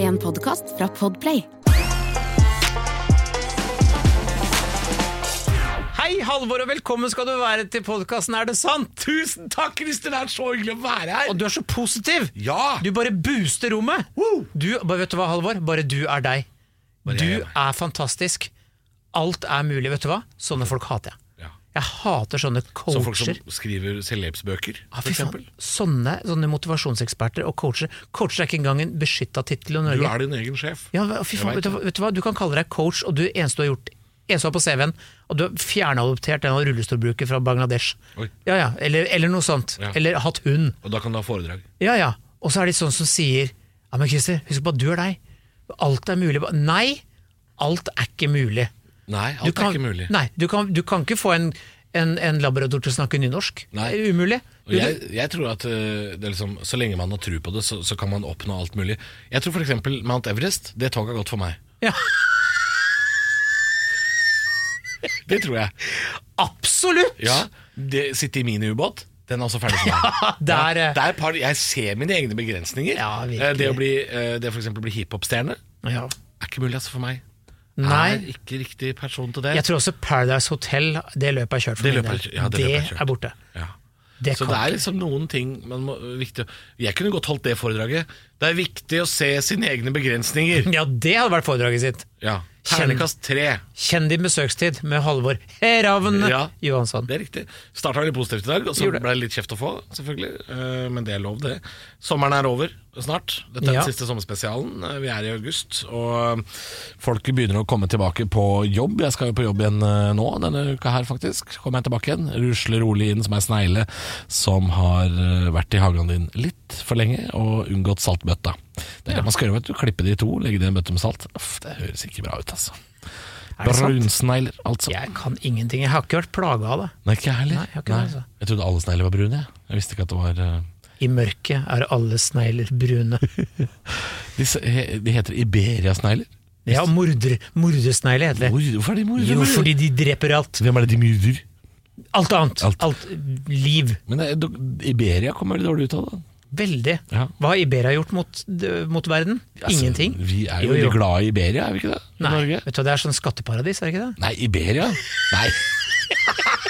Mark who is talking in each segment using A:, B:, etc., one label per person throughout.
A: en podkast fra Podplay.
B: Hei, Halvor, og velkommen skal du være til podkasten Er det sant?
C: Tusen takk, Kristin! Det er så hyggelig å være her.
B: Og du er så positiv!
C: Ja!
B: Du bare booster rommet!
C: Woo!
B: Du, bare vet du hva, Halvor? Bare du er deg.
C: Bare
B: du
C: jeg er meg.
B: er fantastisk. Alt er mulig, vet du hva? Sånne folk hater jeg.
C: Ja.
B: Jeg hater sånne
C: Som folk som
B: coacher.
C: skriver selvhjelpsbøker,
B: Ja,
C: for
B: Ah, fy faen.
C: eksempel.
B: sånne, sånne motivasjoneksperter og coacher. Coacher er ikke engang en beskytta tittel i
C: Du
B: Norge.
C: er din egen sjef.
B: Ja, fy faen, vet,
C: Jeg vet
B: du, hva- vet du hva, du kan kalle deg coach, og du eneste du har gjort eneste du har på CV-en, og du har fjernadoptert en av rullestolbrukere fra Bangladesh.
C: Oi.
B: Ja, ja, eller, eller noe sånt.
C: Ja.
B: Eller hatt hund.
C: Og da kan du ha foredrag.
B: Ja, ja. Og så er de sånn som sier Ja, men Christer, husk på at du er deg. Alt er mulig. Nei, alt er ikke mulig.
C: Nei,
B: Du
C: alt
B: kan-
C: er ikke mulig.
B: Nei, du kan, du kan ikke få en, en, en labrador til å snakke nynorsk.
C: Nei.
B: Det er umulig.
C: Og
B: Du-
C: jeg, jeg tror at øh, det er liksom, Så lenge man har tro på det, så, så kan man oppnå alt mulig. Jeg tror f.eks. Mount Everest. Det toget har gått for meg.
B: Ja.
C: Det tror jeg.
B: Absolutt!
C: Ja, det Sitte i miniubåt. Den er også ferdig for meg.
B: der,
C: Ja, det er et par, jeg ser mine egne begrensninger.
B: eh, Ja, virkelig.
C: Eh, det å bli, eh, det for eksempel å bli hiphop-stjerne
B: eh, Ja.
C: er ikke mulig altså, for meg.
B: Nei.
C: Er ikke riktig person til det.
B: Jeg tror også Paradise Hotel, det løpet er kjørt for
C: Det
B: min
C: løpet
B: del.
C: er kjørt. Ja, det
B: det
C: løpet er kjørt.
B: er borte.
C: Ja.
B: Det
C: Så
B: kan
C: det er
B: ikke.
C: liksom noen ting man må, viktig, å- Jeg kunne godt holdt det foredraget. Det er viktig å se sine egne begrensninger.
B: Ja, det hadde vært foredraget sitt.
C: Ja. Ternekast tre.
B: Kjenn din besøkstid med Halvor Ravn
C: Ja.
B: Johansson.
C: Det er riktig. Starta veldig positivt i dag, og så
B: Gjorde det.
C: ble det litt kjeft å få, selvfølgelig. Eh, Men det er lov, det. Sommeren er over snart. Dette er
B: Ja.
C: den siste sommerspesialen. Eh, Vi er i august, og eh, folk begynner å komme tilbake på jobb. Jeg skal jo på jobb igjen eh, nå, denne uka her, faktisk. Kommer jeg tilbake igjen. Rusler rolig inn som ei snegle som har eh, vært i hagen din litt for lenge og unngått saltbøtta. Det er det man skal gjøre, vet du. Klippe det i to, legge det i en bøtte med salt. Uff, det høres ikke bra ut, altså.
B: Er det sant?
C: Brunsnegler, altså.
B: Jeg kan ingenting. Jeg har ikke vært plaga av det.
C: Nei, ikke jeg heller.
B: Nei, jeg har ikke det, altså.
C: jeg trodde alle snegler var brune. Jeg. jeg visste ikke at det var eh,
B: I mørket er alle snegler brune.
C: De, s- he- de heter Iberia-snegler.
B: Ja, morder, mordersnegle heter det.
C: Mord- Hvorfor er de morder?
B: Jo, fordi de dreper alt.
C: Hvem er det de myrder?
B: Alt annet.
C: Alt.
B: Alt liv.
C: Men det, er- do- Iberia kommer veldig dårlig ut av det.
B: Veldig.
C: Ja.
B: Hva har Iberia gjort mot, d- mot verden?
C: Altså,
B: Ingenting.
C: Vi er
B: Jo,
C: jo,
B: jo.
C: veldig glad i Iberia, er vi ikke det? I
B: Nei,
C: Norge.
B: vet du, hva, Det er sånn skatteparadis, er det ikke det?
C: Nei, Iberia? Nei.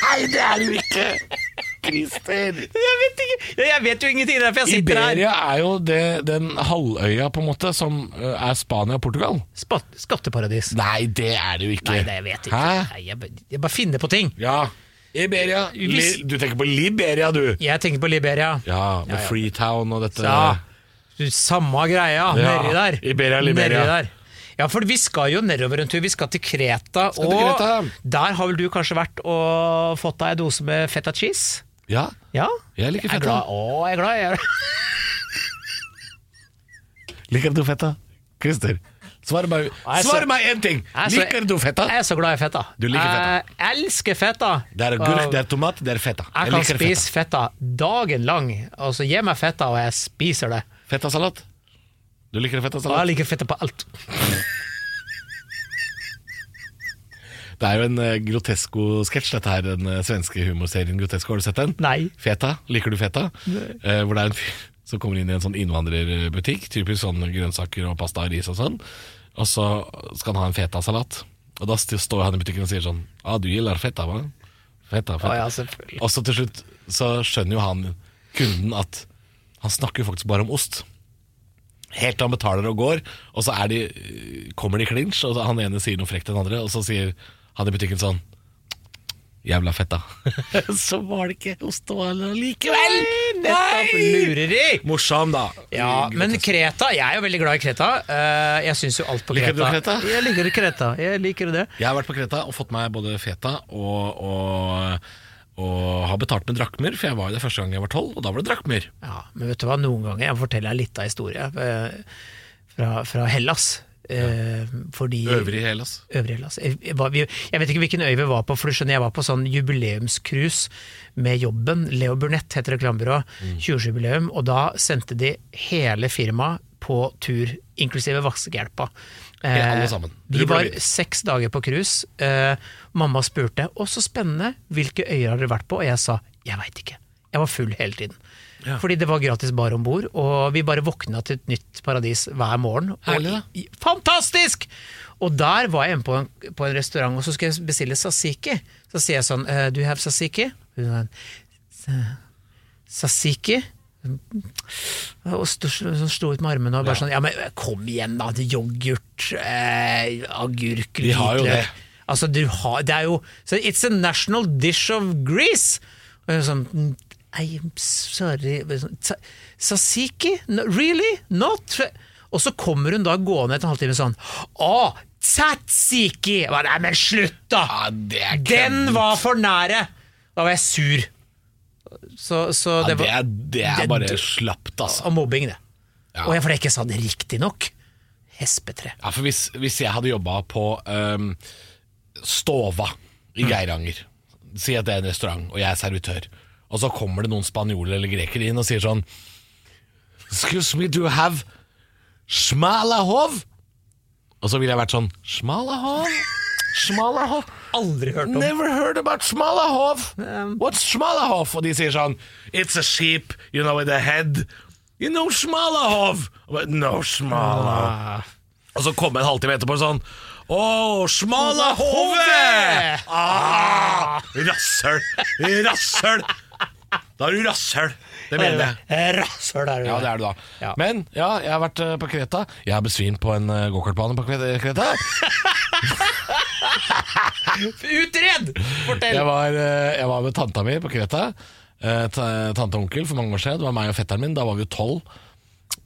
C: Nei, det er det jo ikke! Christer.
B: Jeg vet ikke! Jeg vet jo ingenting, derfor
C: Iberia er jo det, den halvøya på en måte som eh, er Spania og Portugal.
B: skatteparadis.
C: Nei, det er det jo ikke.
B: Nei, det, jeg vet ikke.
C: Hæ?
B: Nei, jeg, bare- jeg bare finner på ting.
C: Ja. Iberia. Li,
B: Hvis-
C: du tenker på Liberia, du.
B: Jeg tenker på Liberia.
C: Ja, med Freetown og dette
B: Ja, du, samme greia
C: Ja,
B: nedi der.
C: Iberia, Liberia.
B: Nedi der. Ja, for vi skal jo nedover en tur. Vi skal til Kreta.
C: til Kreta.
B: Og der har vel du kanskje vært og fått deg en dose med feta cheese?
C: Ja,
B: Ja?
C: jeg liker
B: Jeg er
C: feta.
B: glad. Å, jeg er glad. Jeg er...
C: Liker du feta? Christer, svar meg,
B: Nei, så-
C: svar meg en ting!
B: Jeg er så-
C: Liker du feta?
B: Jeg er så glad i feta. Eh,
C: Du liker feta.
B: Jeg elsker feta.
C: Det er agurk,
B: Og
C: det er tomat, det er feta.
B: Jeg kan spise feta. dagen lang. Altså, gi meg feta, og jeg spiser det.
C: feta. Fetasalat. Du liker
B: Og jeg
C: fetasalat?
B: liker feta på alt.
C: Det er jo en eh, Grotesco-sketsj, dette her. Den eh, svenske humorserien Grotesco. Har du sett den?
B: Nei.
C: Feta. Liker du feta? Eh, hvor det er en fyr som kommer inn i en sånn innvandrerbutikk. Typisk sånn grønnsaker og pasta og ris og sånn. Og så skal han ha en fetasalat. Og da st- står han i butikken og sier sånn ah, du gillar feta, va? Feta, feta.
B: Å, ja, selvfølgelig.
C: og så til slutt så skjønner jo han kunden at han snakker jo faktisk bare om ost. Helt til han betaler og går, og så er de, kommer de i klinsj, og så han ene sier noe frekt til den andre, og så sier han i butikken sånn Jævla fetta. så var det ikke ost og alle likevel!
B: Nettopp lureri!
C: Morsom, da. Mm,
B: Ja,
C: Grotesk.
B: men Kreta, jeg er jo veldig glad i Kreta. Eh, Jeg syns jo alt på
C: Liker
B: Kreta.
C: du Kreta?
B: Jeg liker Kreta. Jeg liker det.
C: Jeg har vært på Kreta og fått meg både feta og, og, og har betalt med drakmer, for jeg var jo der første gang jeg var tolv, og da var det drakmer.
B: Ja, men vet du hva, noen ganger jeg forteller deg litt av historie eh, fra, fra Hellas. Eh, Fordi
C: Øvrig i Hellas.
B: Øvrig Hellas. Jeg, jeg, var- vi- jeg vet ikke hvilken øy vi var på, for du skjønner jeg var på sånn jubileumscruise med jobben. Leo Burnett heter reklamebyrået.
C: Mm.
B: 20-årsjubileum. Og da sendte de hele firmaet på tur, inklusive vaskehjelpa. Eh,
C: Ja, alle sammen.
B: vi
C: Rubbel og
B: var
C: bit.
B: seks dager på cruise. Eh, mamma spurte 'Å, så spennende, hvilke øyer har dere vært på?' Og jeg sa 'Jeg veit ikke'. Jeg var full hele tiden.
C: Ja.
B: Fordi det var gratis bar om bord, og vi bare våkna til et nytt paradis hver morgen. Og
C: Herlig, da.
B: i- Fantastisk! Og der var jeg inne på en, på en restaurant, og så skulle jeg bestille sasiki. Så sier jeg sånn eh, Do you have sasiki? Hun sånn, «Sa- Sasiki? Og sto, sånn, slo ut med armene og bare sånn Ja, men kom igjen, da! Yoghurt, eh, agurk,
C: Vi har jo
B: hvitløk.»
C: det.
B: Altså, du har Det er jo så It's a national dish of Greece! Og jeg er sånn «Mm, I'm sorry Sånn, «Sa- Sasiki? No, really? Not? Og så kommer hun da gående etter en halvtime sånn Å, tzatziki! Jeg bare, Nei, men slutt, da!
C: Ja, det er
B: Den
C: kødd.
B: var for nære! Da var jeg sur. Så, så
C: ja,
B: det
C: det,
B: var
C: er, det er
B: det-
C: bare slapt, altså.
B: Av mobbing, det.
C: Ja.
B: Og jeg, fordi jeg ikke sa det riktig nok. Hespetre.
C: Ja, for hvis, hvis jeg hadde jobba på ehm, Stova
B: Mm.
C: i Geiranger Si at det er en restaurant, og jeg er servitør. Og så kommer det noen spanjoler eller grekere inn og sier sånn Excuse me, do you have smalahov? Og så ville jeg vært sånn Smalahov? Smalahov?
B: Aldri hørt om.
C: Never heard about Smalahov.
B: Um,
C: What's Smalahov? Og de sier sånn It's a sheep, you know, with a head. You know Smalahov. But no Smalahov.
B: Ah.
C: Og så kom jeg en halvtime etterpå sånn Å, Smalahove! Ah, rasshøl! Rasshøl! Da er du rasshøl. Det mener jeg.
B: eh, Rasshøl er du.
C: Ja, det er du da.
B: Ja.
C: Men ja, jeg har vært eh, på Kreta. Jeg har besvimt på en eh, gokartbane på Kre- Kreta.
B: Utred! Fortell!
C: Jeg var, eh, jeg var med tanta mi på Kreta. eh, ta- Tante og onkel for mange år siden. Det var meg og fetteren min. Da var vi jo tolv.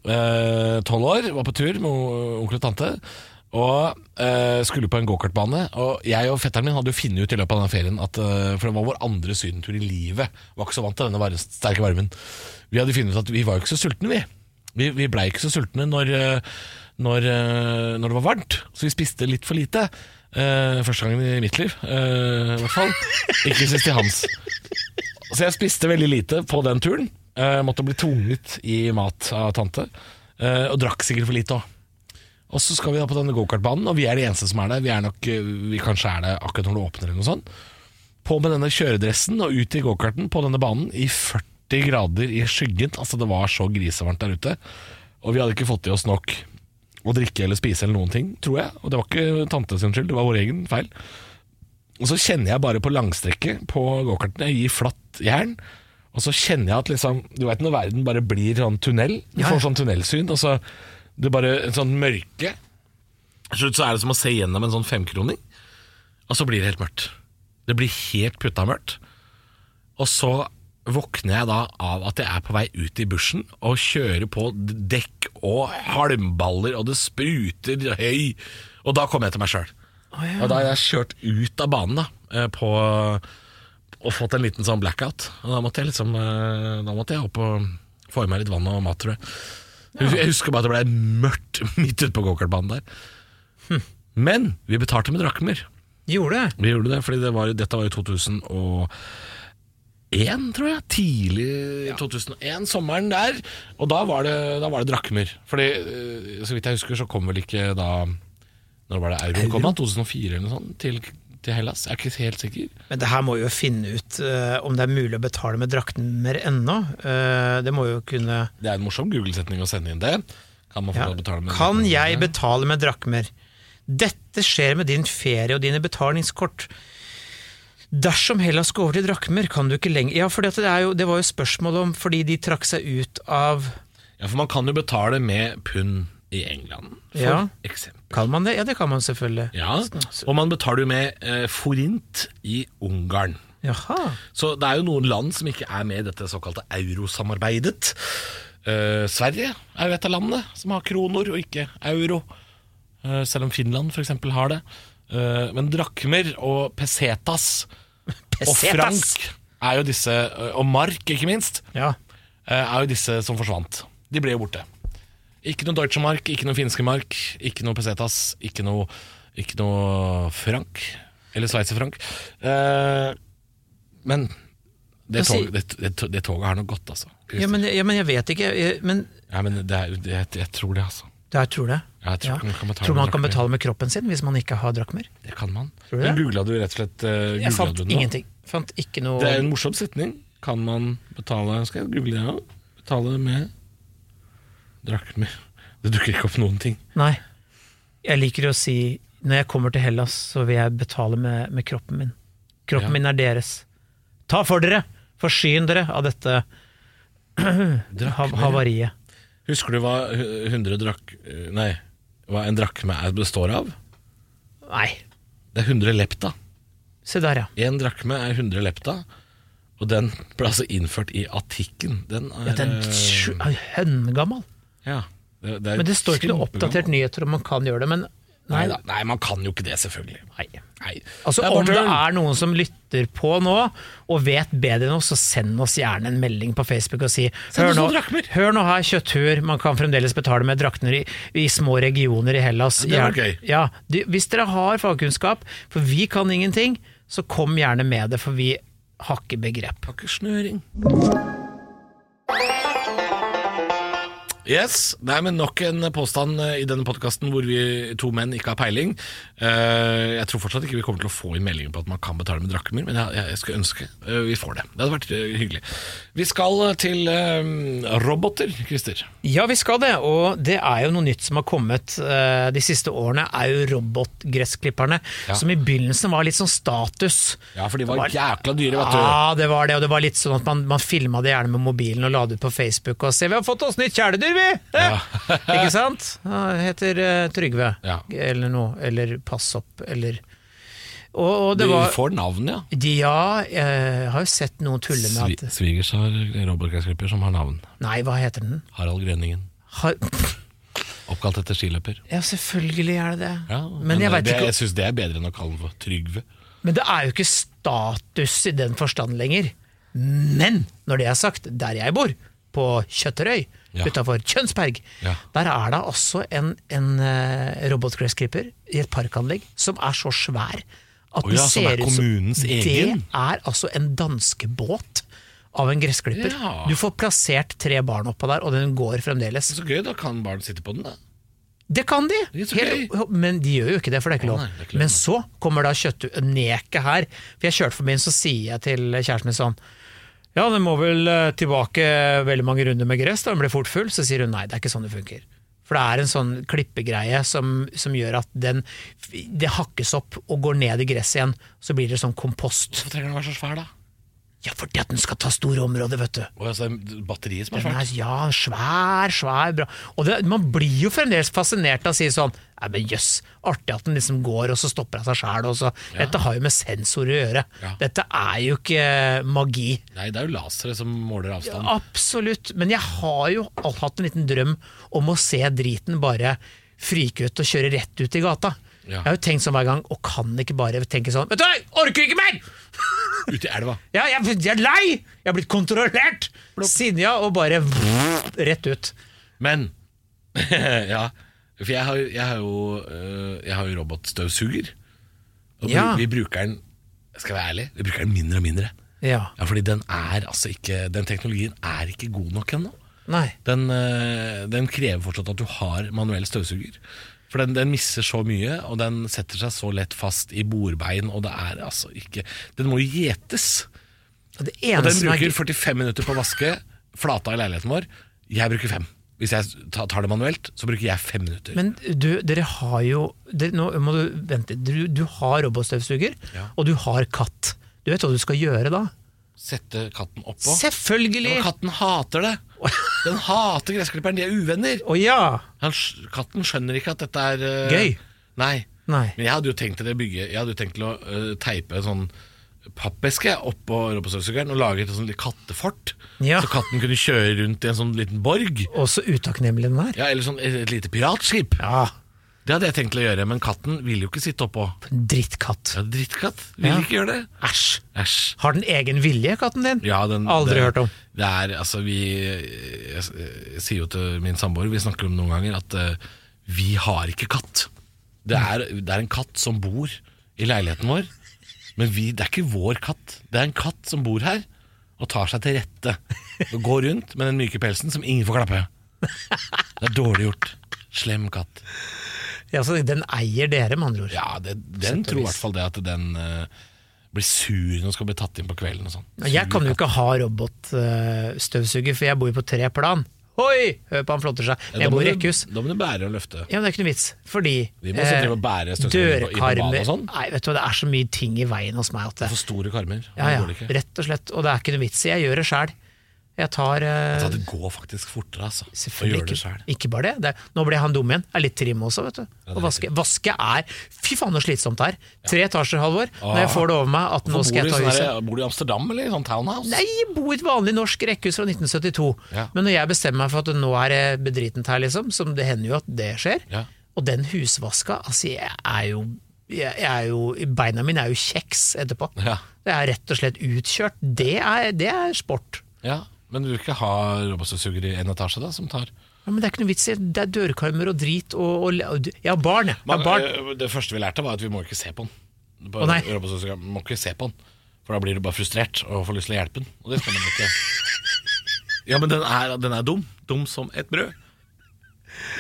C: Eh, Tolv år. Var på tur med o- onkel og tante. Og eh, skulle på en gokartbane. Og jeg og fetteren min hadde jo funnet ut i løpet av denne ferien at eh, For det var vår andre sydentur i livet. Var ikke så vant til denne var sterke varmen. Vi hadde funnet ut at vi var jo ikke så sultne, vi. Vi, vi blei ikke så sultne når, eh, når, eh, når det var varmt, så vi spiste litt for lite. Eh, første gangen i mitt liv, eh, i hvert fall. Ikke sist i hans. Så jeg spiste veldig lite på den turen. Eh, måtte bli tvunget i mat av tante. Eh, og drakk sikkert for lite òg. Og så skal vi da på denne gokartbanen, og vi er de eneste som er der. Vi er nok, eh, vi kanskje er der akkurat når det åpner, eller noe sånt. På med denne kjøredressen og ut i gokarten på denne banen i 40 grader i skyggen. Altså Det var så grisevarmt der ute. Og vi hadde ikke fått i oss nok å drikke eller spise eller noen ting, tror jeg. Og det var ikke tante sin skyld, det var vår egen feil. Og så kjenner jeg bare på langstrekket på gokarten. Jeg gir flatt jern. Og så kjenner jeg at liksom Du veit når verden bare blir sånn tunnel? Du
B: Ja, ja.
C: får sånn tunnelsyn, og så Det er bare en sånn mørke. Til slutt så er det som å se gjennom en sånn femkroning, og så blir det helt mørkt. Det blir helt putta mørkt. Og så våkner jeg da av at jeg er på vei ut i bushen og kjører på d- dekk og halmballer, og det spruter høy. Og da kommer jeg til meg sjøl.
B: Å, ja.
C: Og da har jeg kjørt ut av banen da eh, på, og fått en liten sånn blackout. Og da måtte jeg liksom eh, Da måtte jeg opp og få i meg litt vann og mat, tror jeg. Jeg husker bare at det ble mørkt midt ute på gokartbanen der. Men vi betalte med drakmer.
B: Gjorde det?
C: Vi gjorde det, fordi det var, dette var i 2001, tror jeg. Tidlig 2001, sommeren der. Og da var det, da var det drakmer. Fordi, eh, så vidt jeg husker, så kom vel ikke da Når var det euroen kom? da? 2004 eller noe sånt? Til, til Hellas? Jeg er ikke helt sikker.
B: Men det her må jo finne ut eh, om det er mulig å betale med drakmer ennå. Eh, det må jo kunne
C: Det er en morsom Google-setning å sende inn det. Kan man få
B: ja.
C: lov til å betale med
B: Kan
C: drakmer?
B: jeg betale med drakmer? Dette skjer med din ferie og dine betalingskort. Dersom Hellas går over til drakmer, kan du ikke lenger Ja, for det, er jo, det var jo spørsmål om fordi de trakk seg ut av
C: Ja, for man kan jo betale med pund i England, for
B: Ja.
C: eksempel.
B: Kan man det? Ja, det kan man selvfølgelig.
C: Ja, og man betaler jo med eh, forint i Ungarn.
B: Jaha.
C: Så det er jo noen land som ikke er med i dette såkalte eurosamarbeidet. Eh, Sverige er jo et av landene som har kroner og ikke euro. Eh, selv om Finland f.eks. har det. Eh, men drakmer og pesetas, og
B: Pesetas!
C: frank er jo disse, eh, og mark ikke minst,
B: Ja.
C: eh, er jo disse som forsvant. De ble jo borte. Ikke noe deutsche mark, ikke noe finske mark, ikke noe pesetas, ikke noe, ikke noe frank, eller sveitserfrank. Eh, men det,
B: Men si-
C: tog, det, det, det toget har nok gått, altså.
B: Ja men, ja, men jeg vet ikke. eh, Men
C: Ja, men det, er- det, jeg, jeg tror det, altså.
B: Ja, jeg tror det.
C: Ja, jeg tror ikke man kan betale
B: tror man
C: med
B: kan
C: drakmer.
B: betale med kroppen sin hvis man ikke har drakmer?
C: Det kan man.
B: Tror du det?
C: Men Googla du rett og slett eh,
B: Jeg
C: googlet
B: fant
C: du den da?
B: ingenting. Fant ikke noe
C: Det er en morsom setning. Kan man betale Skal jeg google det òg? Betale med drakmer. Det dukker ikke opp noen ting.
B: Nei. Jeg liker å si når jeg kommer til Hellas, så vil jeg betale med, med kroppen min. Kroppen
C: Ja.
B: min er deres. Ta for dere! Forsyn dere av dette ha-
C: Drakmer.
B: havariet.
C: Husker du hva hu- 100 drak... Nei, hva en drakme er- består av?
B: Nei.
C: Det er 100 lepta.
B: Se der, ja.
C: En drakme er 100 lepta, og den ble altså innført i Atikken. Den er,
B: ja den
C: eh,
B: sju- er høngammal.
C: ja. Det- det er
B: Men det står ikke noe
C: kjempegammel.
B: oppdatert nyheter om man kan gjøre det. Men nei.
C: Neida. Nei, man kan jo ikke det, selvfølgelig.
B: nei.
C: Nei.
B: Altså
C: Det er
B: Om det
C: Morten.
B: er noen som lytter på nå og vet bedre enn oss, så send oss gjerne en melding på Facebook og si
C: Send
B: Hør
C: oss
B: nå,
C: noen drakmer!»
B: hør nå her, kjøtthur, man kan fremdeles betale med drakter i, i små regioner i Hellas.
C: Det var
B: Gjerne-
C: gøy.
B: Ja, du, hvis dere har fagkunnskap, for vi kan ingenting, så kom gjerne med det, for vi har ikke begrep.
C: Har ikke snøring. Yes, Nei, men Nok en påstand eh, i denne podkasten hvor vi to menn ikke har peiling. Eh, jeg tror fortsatt ikke vi kommer til å få inn meldinger på at man kan betale med drakmer, men jeg, jeg skulle ønske eh, vi får det. Det hadde vært eh, hyggelig. Vi skal eh, til eh, roboter, Christer.
B: Ja, vi skal det, og det er jo noe nytt som har kommet eh, de siste årene, er jo robotgressklipperne,
C: Ja.
B: som i begynnelsen var litt sånn status.
C: Ja, for de var jækla dyre, vet du.
B: Ja, Ah, det var det, og det var litt sånn at man, man filma det gjerne med mobilen og la det ut på Facebook og se, vi har fått oss nytt kjæledyr, vi! Eh, Ikke sant? Ja, det heter eh, Trygve,
C: Ja.
B: eller noe, eller Pass opp, eller Og, og det
C: De
B: var
C: får navn, ja.
B: de, Ja, jeg har jo sett noen tulle med
C: Svi-
B: at
C: Svigers har robotgressklipper som har navn.
B: Nei, hva heter den?
C: Harald Grønningen.
B: Har,
C: Oppkalt etter skiløper.
B: ja, selvfølgelig er det det.
C: Ja, eh,
B: men jeg veit
C: det,
B: ikke
C: Jeg syns det er bedre enn å kalle den for Trygve.
B: Men det er jo ikke status i den forstand lenger. Men når det er sagt, der jeg bor, på Kjøtterøy
C: Ja.
B: utafor Kjønsberg,
C: Ja.
B: der er det altså en, en eh, robotgressklipper i et parkanlegg som er så svær at
C: Å ja,
B: den
C: som er
B: ser ut som
C: kommunens egen?
B: Det er altså en danskebåt av en gressklipper.
C: Ja.
B: Du får plassert tre barn oppå der, og den går fremdeles.
C: Så gøy, da kan barn sitte på den, da.
B: Det kan de!
C: Det er så
B: Helt, men de gjør jo ikke det, for det er ikke
C: Å,
B: lov.
C: nei, det er ikke lov.
B: Men så kommer da kjøttneket her. For jeg kjørte forbi, så sier jeg til kjæresten min sånn Ja, den må vel eh, tilbake veldig mange runder med gress, da den blir fort full. Så sier hun nei, det er ikke sånn det funker. For det er en sånn klippegreie som, som gjør at den Det hakkes opp og går ned i gresset igjen. Så blir det sånn kompost.
C: Hvorfor trenger den å være så svær, da?
B: Ja, fordi at den skal ta store områder, vet du.
C: Å, ja, så altså, det er batteriet som er
B: Den
C: svært?
B: er, ja, svær, svær, bra. Og det, man blir jo fremdeles fascinert av å si sånn Nei, men jøss, artig at den liksom går, og så stopper den seg sjæl. Dette har jo med sensor å gjøre.
C: Ja.
B: Dette er jo ikke eh, magi.
C: Nei, det er jo lasere som måler avstand.
B: Absolutt. Men jeg har jo all- hatt en liten drøm om å se driten bare fryke ut og kjøre rett ut i gata.
C: Ja.
B: Jeg har jo tenkt sånn hver gang, og kan ikke bare tenke sånn Vet du hva, jeg orker ikke mer!
C: Ute i elva.
B: Ja, jeg, jeg er lei! Jeg er blitt kontrollert! Sinja, og bare rett ut.
C: Men Ja. For jeg har, jeg har jo øh, Jeg har jo robotstøvsuger. Og
B: Ja.
C: vi, vi bruker den Skal jeg være ærlig, vi bruker den mindre og mindre.
B: Ja.
C: Ja, fordi den er altså ikke Den teknologien er ikke god nok ennå.
B: Nei.
C: Den, øh, den krever fortsatt at du har manuell støvsuger. For den, den misser så mye, og den setter seg så lett fast i bordbein, og det er altså ikke Den må jo gjetes.
B: Og det
C: Og
B: eneste
C: den
B: som er
C: bruker 45 minutter på å vaske flata i leiligheten vår. Jeg bruker fem. Hvis jeg ta- tar det manuelt, så bruker jeg fem minutter.
B: Men du, dere har jo dere, Nå må du vente. Du, du har robotstøvsuger,
C: Ja.
B: og du har katt. Du vet hva du skal gjøre da?
C: Sette katten oppå.
B: Selvfølgelig!
C: Men katten hater det! Den hater gressklipperen, de er uvenner.
B: Å ja!
C: Han, sk- katten skjønner ikke at dette er eh,
B: Gøy.
C: Nei.
B: Nei.
C: Men jeg hadde jo tenkt til, det bygge, jeg hadde jo tenkt til å eh, teipe en sånn pappeske oppå robotstøvsugeren og lage et sånt litt kattefort.
B: Ja.
C: Så katten kunne kjøre rundt i en sånn liten borg.
B: Og så utakknemlig den Ah, er.
C: Ja, Eller sånn et, et lite piratskip.
B: Ja.
C: Det hadde jeg tenkt til å gjøre, men katten vil jo ikke sitte oppå.
B: Drittkatt.
C: Ja, drittkatt. Vil
B: Ja.
C: ikke gjøre det.
B: Æsj!
C: Æsj.
B: Har den egen vilje, katten din?
C: Ja, den,
B: Aldri
C: det,
B: hørt om.
C: Det er, altså vi jeg, s- jeg sier jo til min samboer, vi snakker om det noen ganger, at eh, vi har ikke katt. Det er, det er en katt som bor i leiligheten vår, men vi, det er ikke vår katt. Det er en katt som bor her og tar seg til rette. Og går rundt med den myke pelsen som ingen får klappe. Det er dårlig gjort. Slem katt.
B: Ja, så den eier dere, med andre ord.
C: Ja, det, den tror i hvert fall det at den eh, Blir sur når du skal bli tatt inn på kvelden og sånn.
B: Jeg kan jo ikke ha robotstøvsuger, for jeg bor jo på tre plan. Hoi! Hør på han flotter seg. Men
C: Da
B: jeg
C: må
B: bor i
C: du-
B: rekkehus.
C: Da må du bære og løfte.
B: Ja, men det er ikke noe vits, fordi eh,
C: Vi må også drive og bære støvsugeren på- i på banen og sånn.
B: Nei, vet du hva, det er så mye ting i veien hos meg at det
C: For store karmer.
B: Ja, ja,
C: Det går det ikke.
B: rett og slett. Og det er ikke noe vits i. Jeg gjør det sjæl. Jeg tar eh,
C: Så det går faktisk fortere, altså. Å
B: Selvfølgelig
C: gjøre det
B: ikke.
C: selv.
B: Ikke bare det. det. Nå ble han dum igjen. Er litt trim også, vet du.
C: det er
B: Å vaske. vaske er Fy faen så slitsomt det er. Tre etasjer, Halvor. Når jeg
C: Ah.
B: får det over meg at nå skal jeg ta
C: Bor du i sånn
B: huset.
C: der- Bor du i Amsterdam eller i sånn townhouse?
B: Nei, jeg bor i et vanlig norsk rekkehus fra 1972.
C: Ja.
B: Men når jeg bestemmer meg for at nå er det bedritent her, liksom, som det hender jo at det skjer,
C: Ja.
B: og den husvaska Altså, jeg er jo, jeg er jo Beina mine er jo kjeks etterpå.
C: Ja.
B: Jeg er rett og slett utkjørt. Det er, det er sport.
C: Ja, Men du vil ikke ha robotstøvsuger i en etasje, da, som tar
B: Ja, men det er ikke noe vits i. Det er dørkarmer og drit og, og og- Jeg har barn, jeg. jeg har barn.
C: Men, eh, Det første vi lærte, var at vi må ikke se på den. På
B: Å, nei.
C: robotstøvsugeren, vi må ikke se på den. For da blir du bare frustrert og får lyst til å hjelpe den. Og det skal man ikke. Ja, men den er, den er dum. Dum som et brød.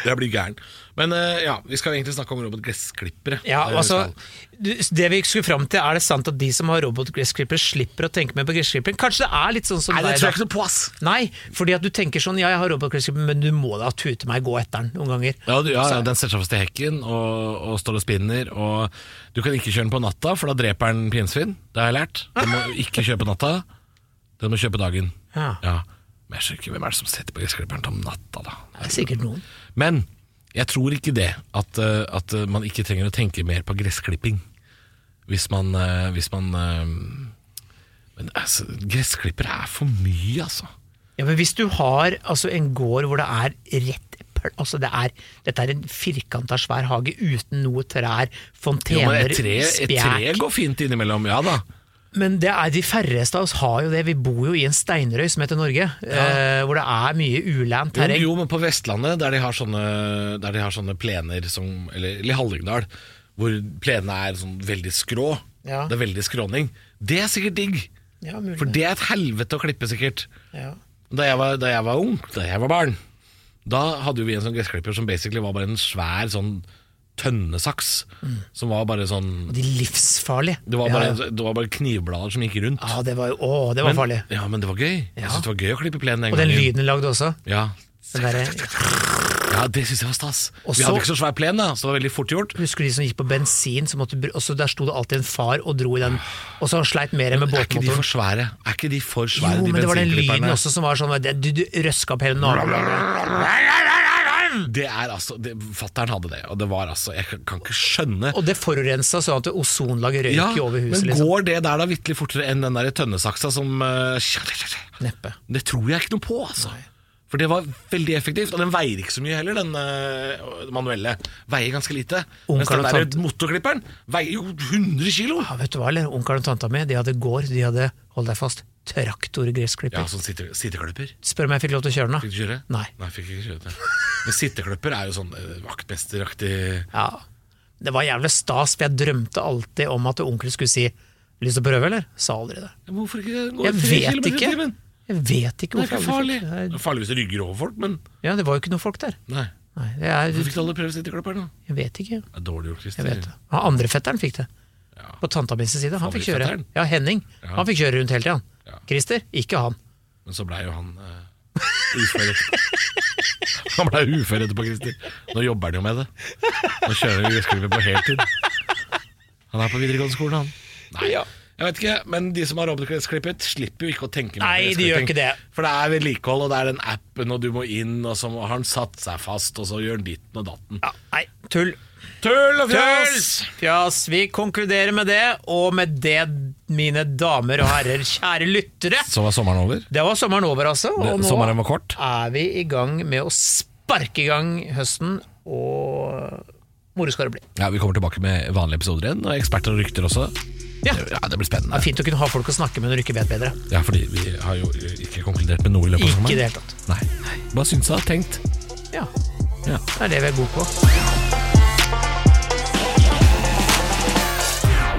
C: Jeg blir gæren. Men eh, ja, vi skal egentlig snakke om robotgressklippere.
B: Ja,
C: Det er det vi
B: altså,
C: skal.
B: du- det vi skulle fram til, er det sant at de som har robotgressklipper, slipper å tenke mer på gressklipperen? Kanskje det er litt sånn som
C: Nei, det
B: deg,
C: tror
B: da.
C: jeg ikke noe på, ass!
B: Nei, fordi at du tenker sånn Ja, jeg har robotklesskrift, men du må da tute meg gå etter den noen ganger.
C: Ja, du, ja, ja, den setter seg fast i hekken og, og står og spinner. Og du kan ikke kjøre den på natta, for da dreper den pinnsvin. Det har jeg lært. Den må ikke kjøre på natta. Den må kjøre på dagen.
B: Ja.
C: Men jeg skjønner ikke hvem er det som setter på gressklipperen om natta, da.
B: Det er sikkert noen.
C: Men jeg tror ikke det, at, eh, at eh, man ikke trenger å tenke mer på gressklipping. Hvis man, eh, hvis man eh, Men altså, gressklippere er for mye, altså.
B: Ja, men hvis du har altså, en gård hvor det er rett pl- Altså, det er, dette er en firkanta, svær hage uten noe trær,
C: Jo, men
B: fontener,
C: et tre, et tre
B: spjæk
C: går fint innimellom, ja da.
B: Men det er de færreste av oss har jo det. Vi bor jo i en steinrøy som heter Norge, eh, hvor det er mye ulant
C: Jo,
B: terreng.
C: jo, men på Vestlandet, der de har sånne, der de har sånne plener som Eller eller i Hallingdal, hvor plenene er sånn veldig skrå.
B: Ja.
C: Det er veldig skråning. Det er sikkert digg!
B: Ja, mulig
C: For
B: det.
C: det er et helvete å klippe, sikkert.
B: Ja.
C: Da jeg var, da jeg var ung, da jeg var barn, da hadde jo vi en sånn gressklipper som basically var bare en svær sånn tønnesaks. Som var bare
B: Og
C: sånn
B: de livsfarlige.
C: Det var bare,
B: Mm. ja,
C: det var bare knivblader som gikk rundt.
B: ja, det var jo Å, det var farlig.
C: Ja, men det var gøy.
B: Ja.
C: Jeg syntes det var gøy å klippe plenen den
B: Og den
C: gangen.
B: lyden lagde også.
C: Ja,
B: Den derre
C: Ja, det syns jeg var stas.
B: Og
C: vi
B: så-
C: hadde ikke så svær plen, da, så det var veldig fort gjort.
B: Husker du de som gikk på bensin, så måtte, br- og så der sto det alltid en far og dro i den, og så sleit mer med
C: Er ikke de
B: båtmotoren.
C: for svære? Er ikke de for
B: Jo,
C: svære, de
B: men det var den lyden
C: bensinklipperne?
B: også som var sånn det- Du, du røska opp hele naboen.
C: Det er altså det, Fattern hadde det, og det var altså Jeg kan, kan ikke skjønne
B: Og det forurensa sånn at ozonlaget røyk
C: Ja,
B: jo over
C: Men
B: huset,
C: går
B: liksom.
C: det der da vitterlig fortere enn den der tønnesaksa som eh,
B: Neppe.
C: Det tror jeg ikke noe på, altså. For det var veldig effektivt, og den veier ikke så mye heller, den eh, manuelle. Veier ganske lite. Mens
B: Onkelen
C: den
B: og
C: der
B: tante-
C: motorklipperen veier jo 100 kilo!
B: Ja, vet du hva, eller? Onkelen og tanta mi, de hadde gård, de hadde, hold deg fast, traktorgressklipper.
C: Ja, sånn sitte- sitteklipper.
B: Spør om jeg fikk lov til å kjøre
C: Fikk
B: den,
C: du kjøre?
B: Nei.
C: Nei, fikk ikke kjøre det. Men sittekløpper er jo sånn eh, vaktmesteraktig
B: da. Ja. Det var jævlig stas, for jeg drømte alltid om at onkel skulle si 'lyst til å prøve', eller? Sa aldri det.
C: Ja, Hvorfor ikke gå
B: Jeg
C: tre
B: vet
C: kilometer i
B: ikke.
C: timen?
B: Jeg vet ikke
C: Det
B: hvorfor
C: er ikke
B: alle
C: farlig.
B: fikk-
C: Det
B: Nei,
C: er farlig hvis det rygger over folk, men
B: Ja, det var jo ikke noen folk der.
C: nei.
B: Nei, jeg,
C: Hvorfor fikk du aldri prøve sittekløpper, da?
B: jeg vet ikke.
C: Det er dårlig gjort,
B: Jeg
C: Christer.
B: vet det. Han andre fetteren fikk det.
C: Ja.
B: På tanta mi sin side. Han fikk kjøre.
C: Favorittfetteren?
B: Ja, Henning.
C: Ja.
B: Han fikk kjøre rundt hele tida.
C: Ja.
B: Christer, ikke han.
C: Men så blei jo han eh, ufør etterpå. Han blei ufør etterpå, Christer. Nå jobber han jo med det. Nå kjører han gressklipper på heltid. Han er på videregående skole, han. Nei,
B: Ja.
C: jeg vet ikke, men de som har robotgressklippet, slipper jo ikke å tenke mer på
B: Nei, de gjør
C: gressklipping.
B: ikke det.
C: For det er vedlikehold, og det er den appen, og du må inn, og så har han satt seg fast, og så gjør han ditten og datten.
B: Ja, nei, tull.
C: Tull og
B: Tull!
C: fjas!
B: Fjas. Vi konkluderer med det, og med det, mine damer og herrer, kjære lyttere.
C: Så var sommeren over.
B: Det var sommeren over, altså. Og
C: Det-
B: nå
C: sommeren var kort.
B: er vi i gang med å sparke i gang høsten, og moro skal det bli.
C: Ja, Vi kommer tilbake med vanlige episoder igjen, og eksperter og rykter også.
B: Ja.
C: ja Det blir spennende.
B: Det er fint å kunne ha folk å snakke med når du ikke vet bedre.
C: Ja, fordi vi har jo ikke konkludert med noe i løpet av
B: Ikke i
C: sommeren.
B: det hele tatt.
C: Nei. Bare synsa, tenkt.
B: Ja,
C: Ja.
B: det er det vi er gode på.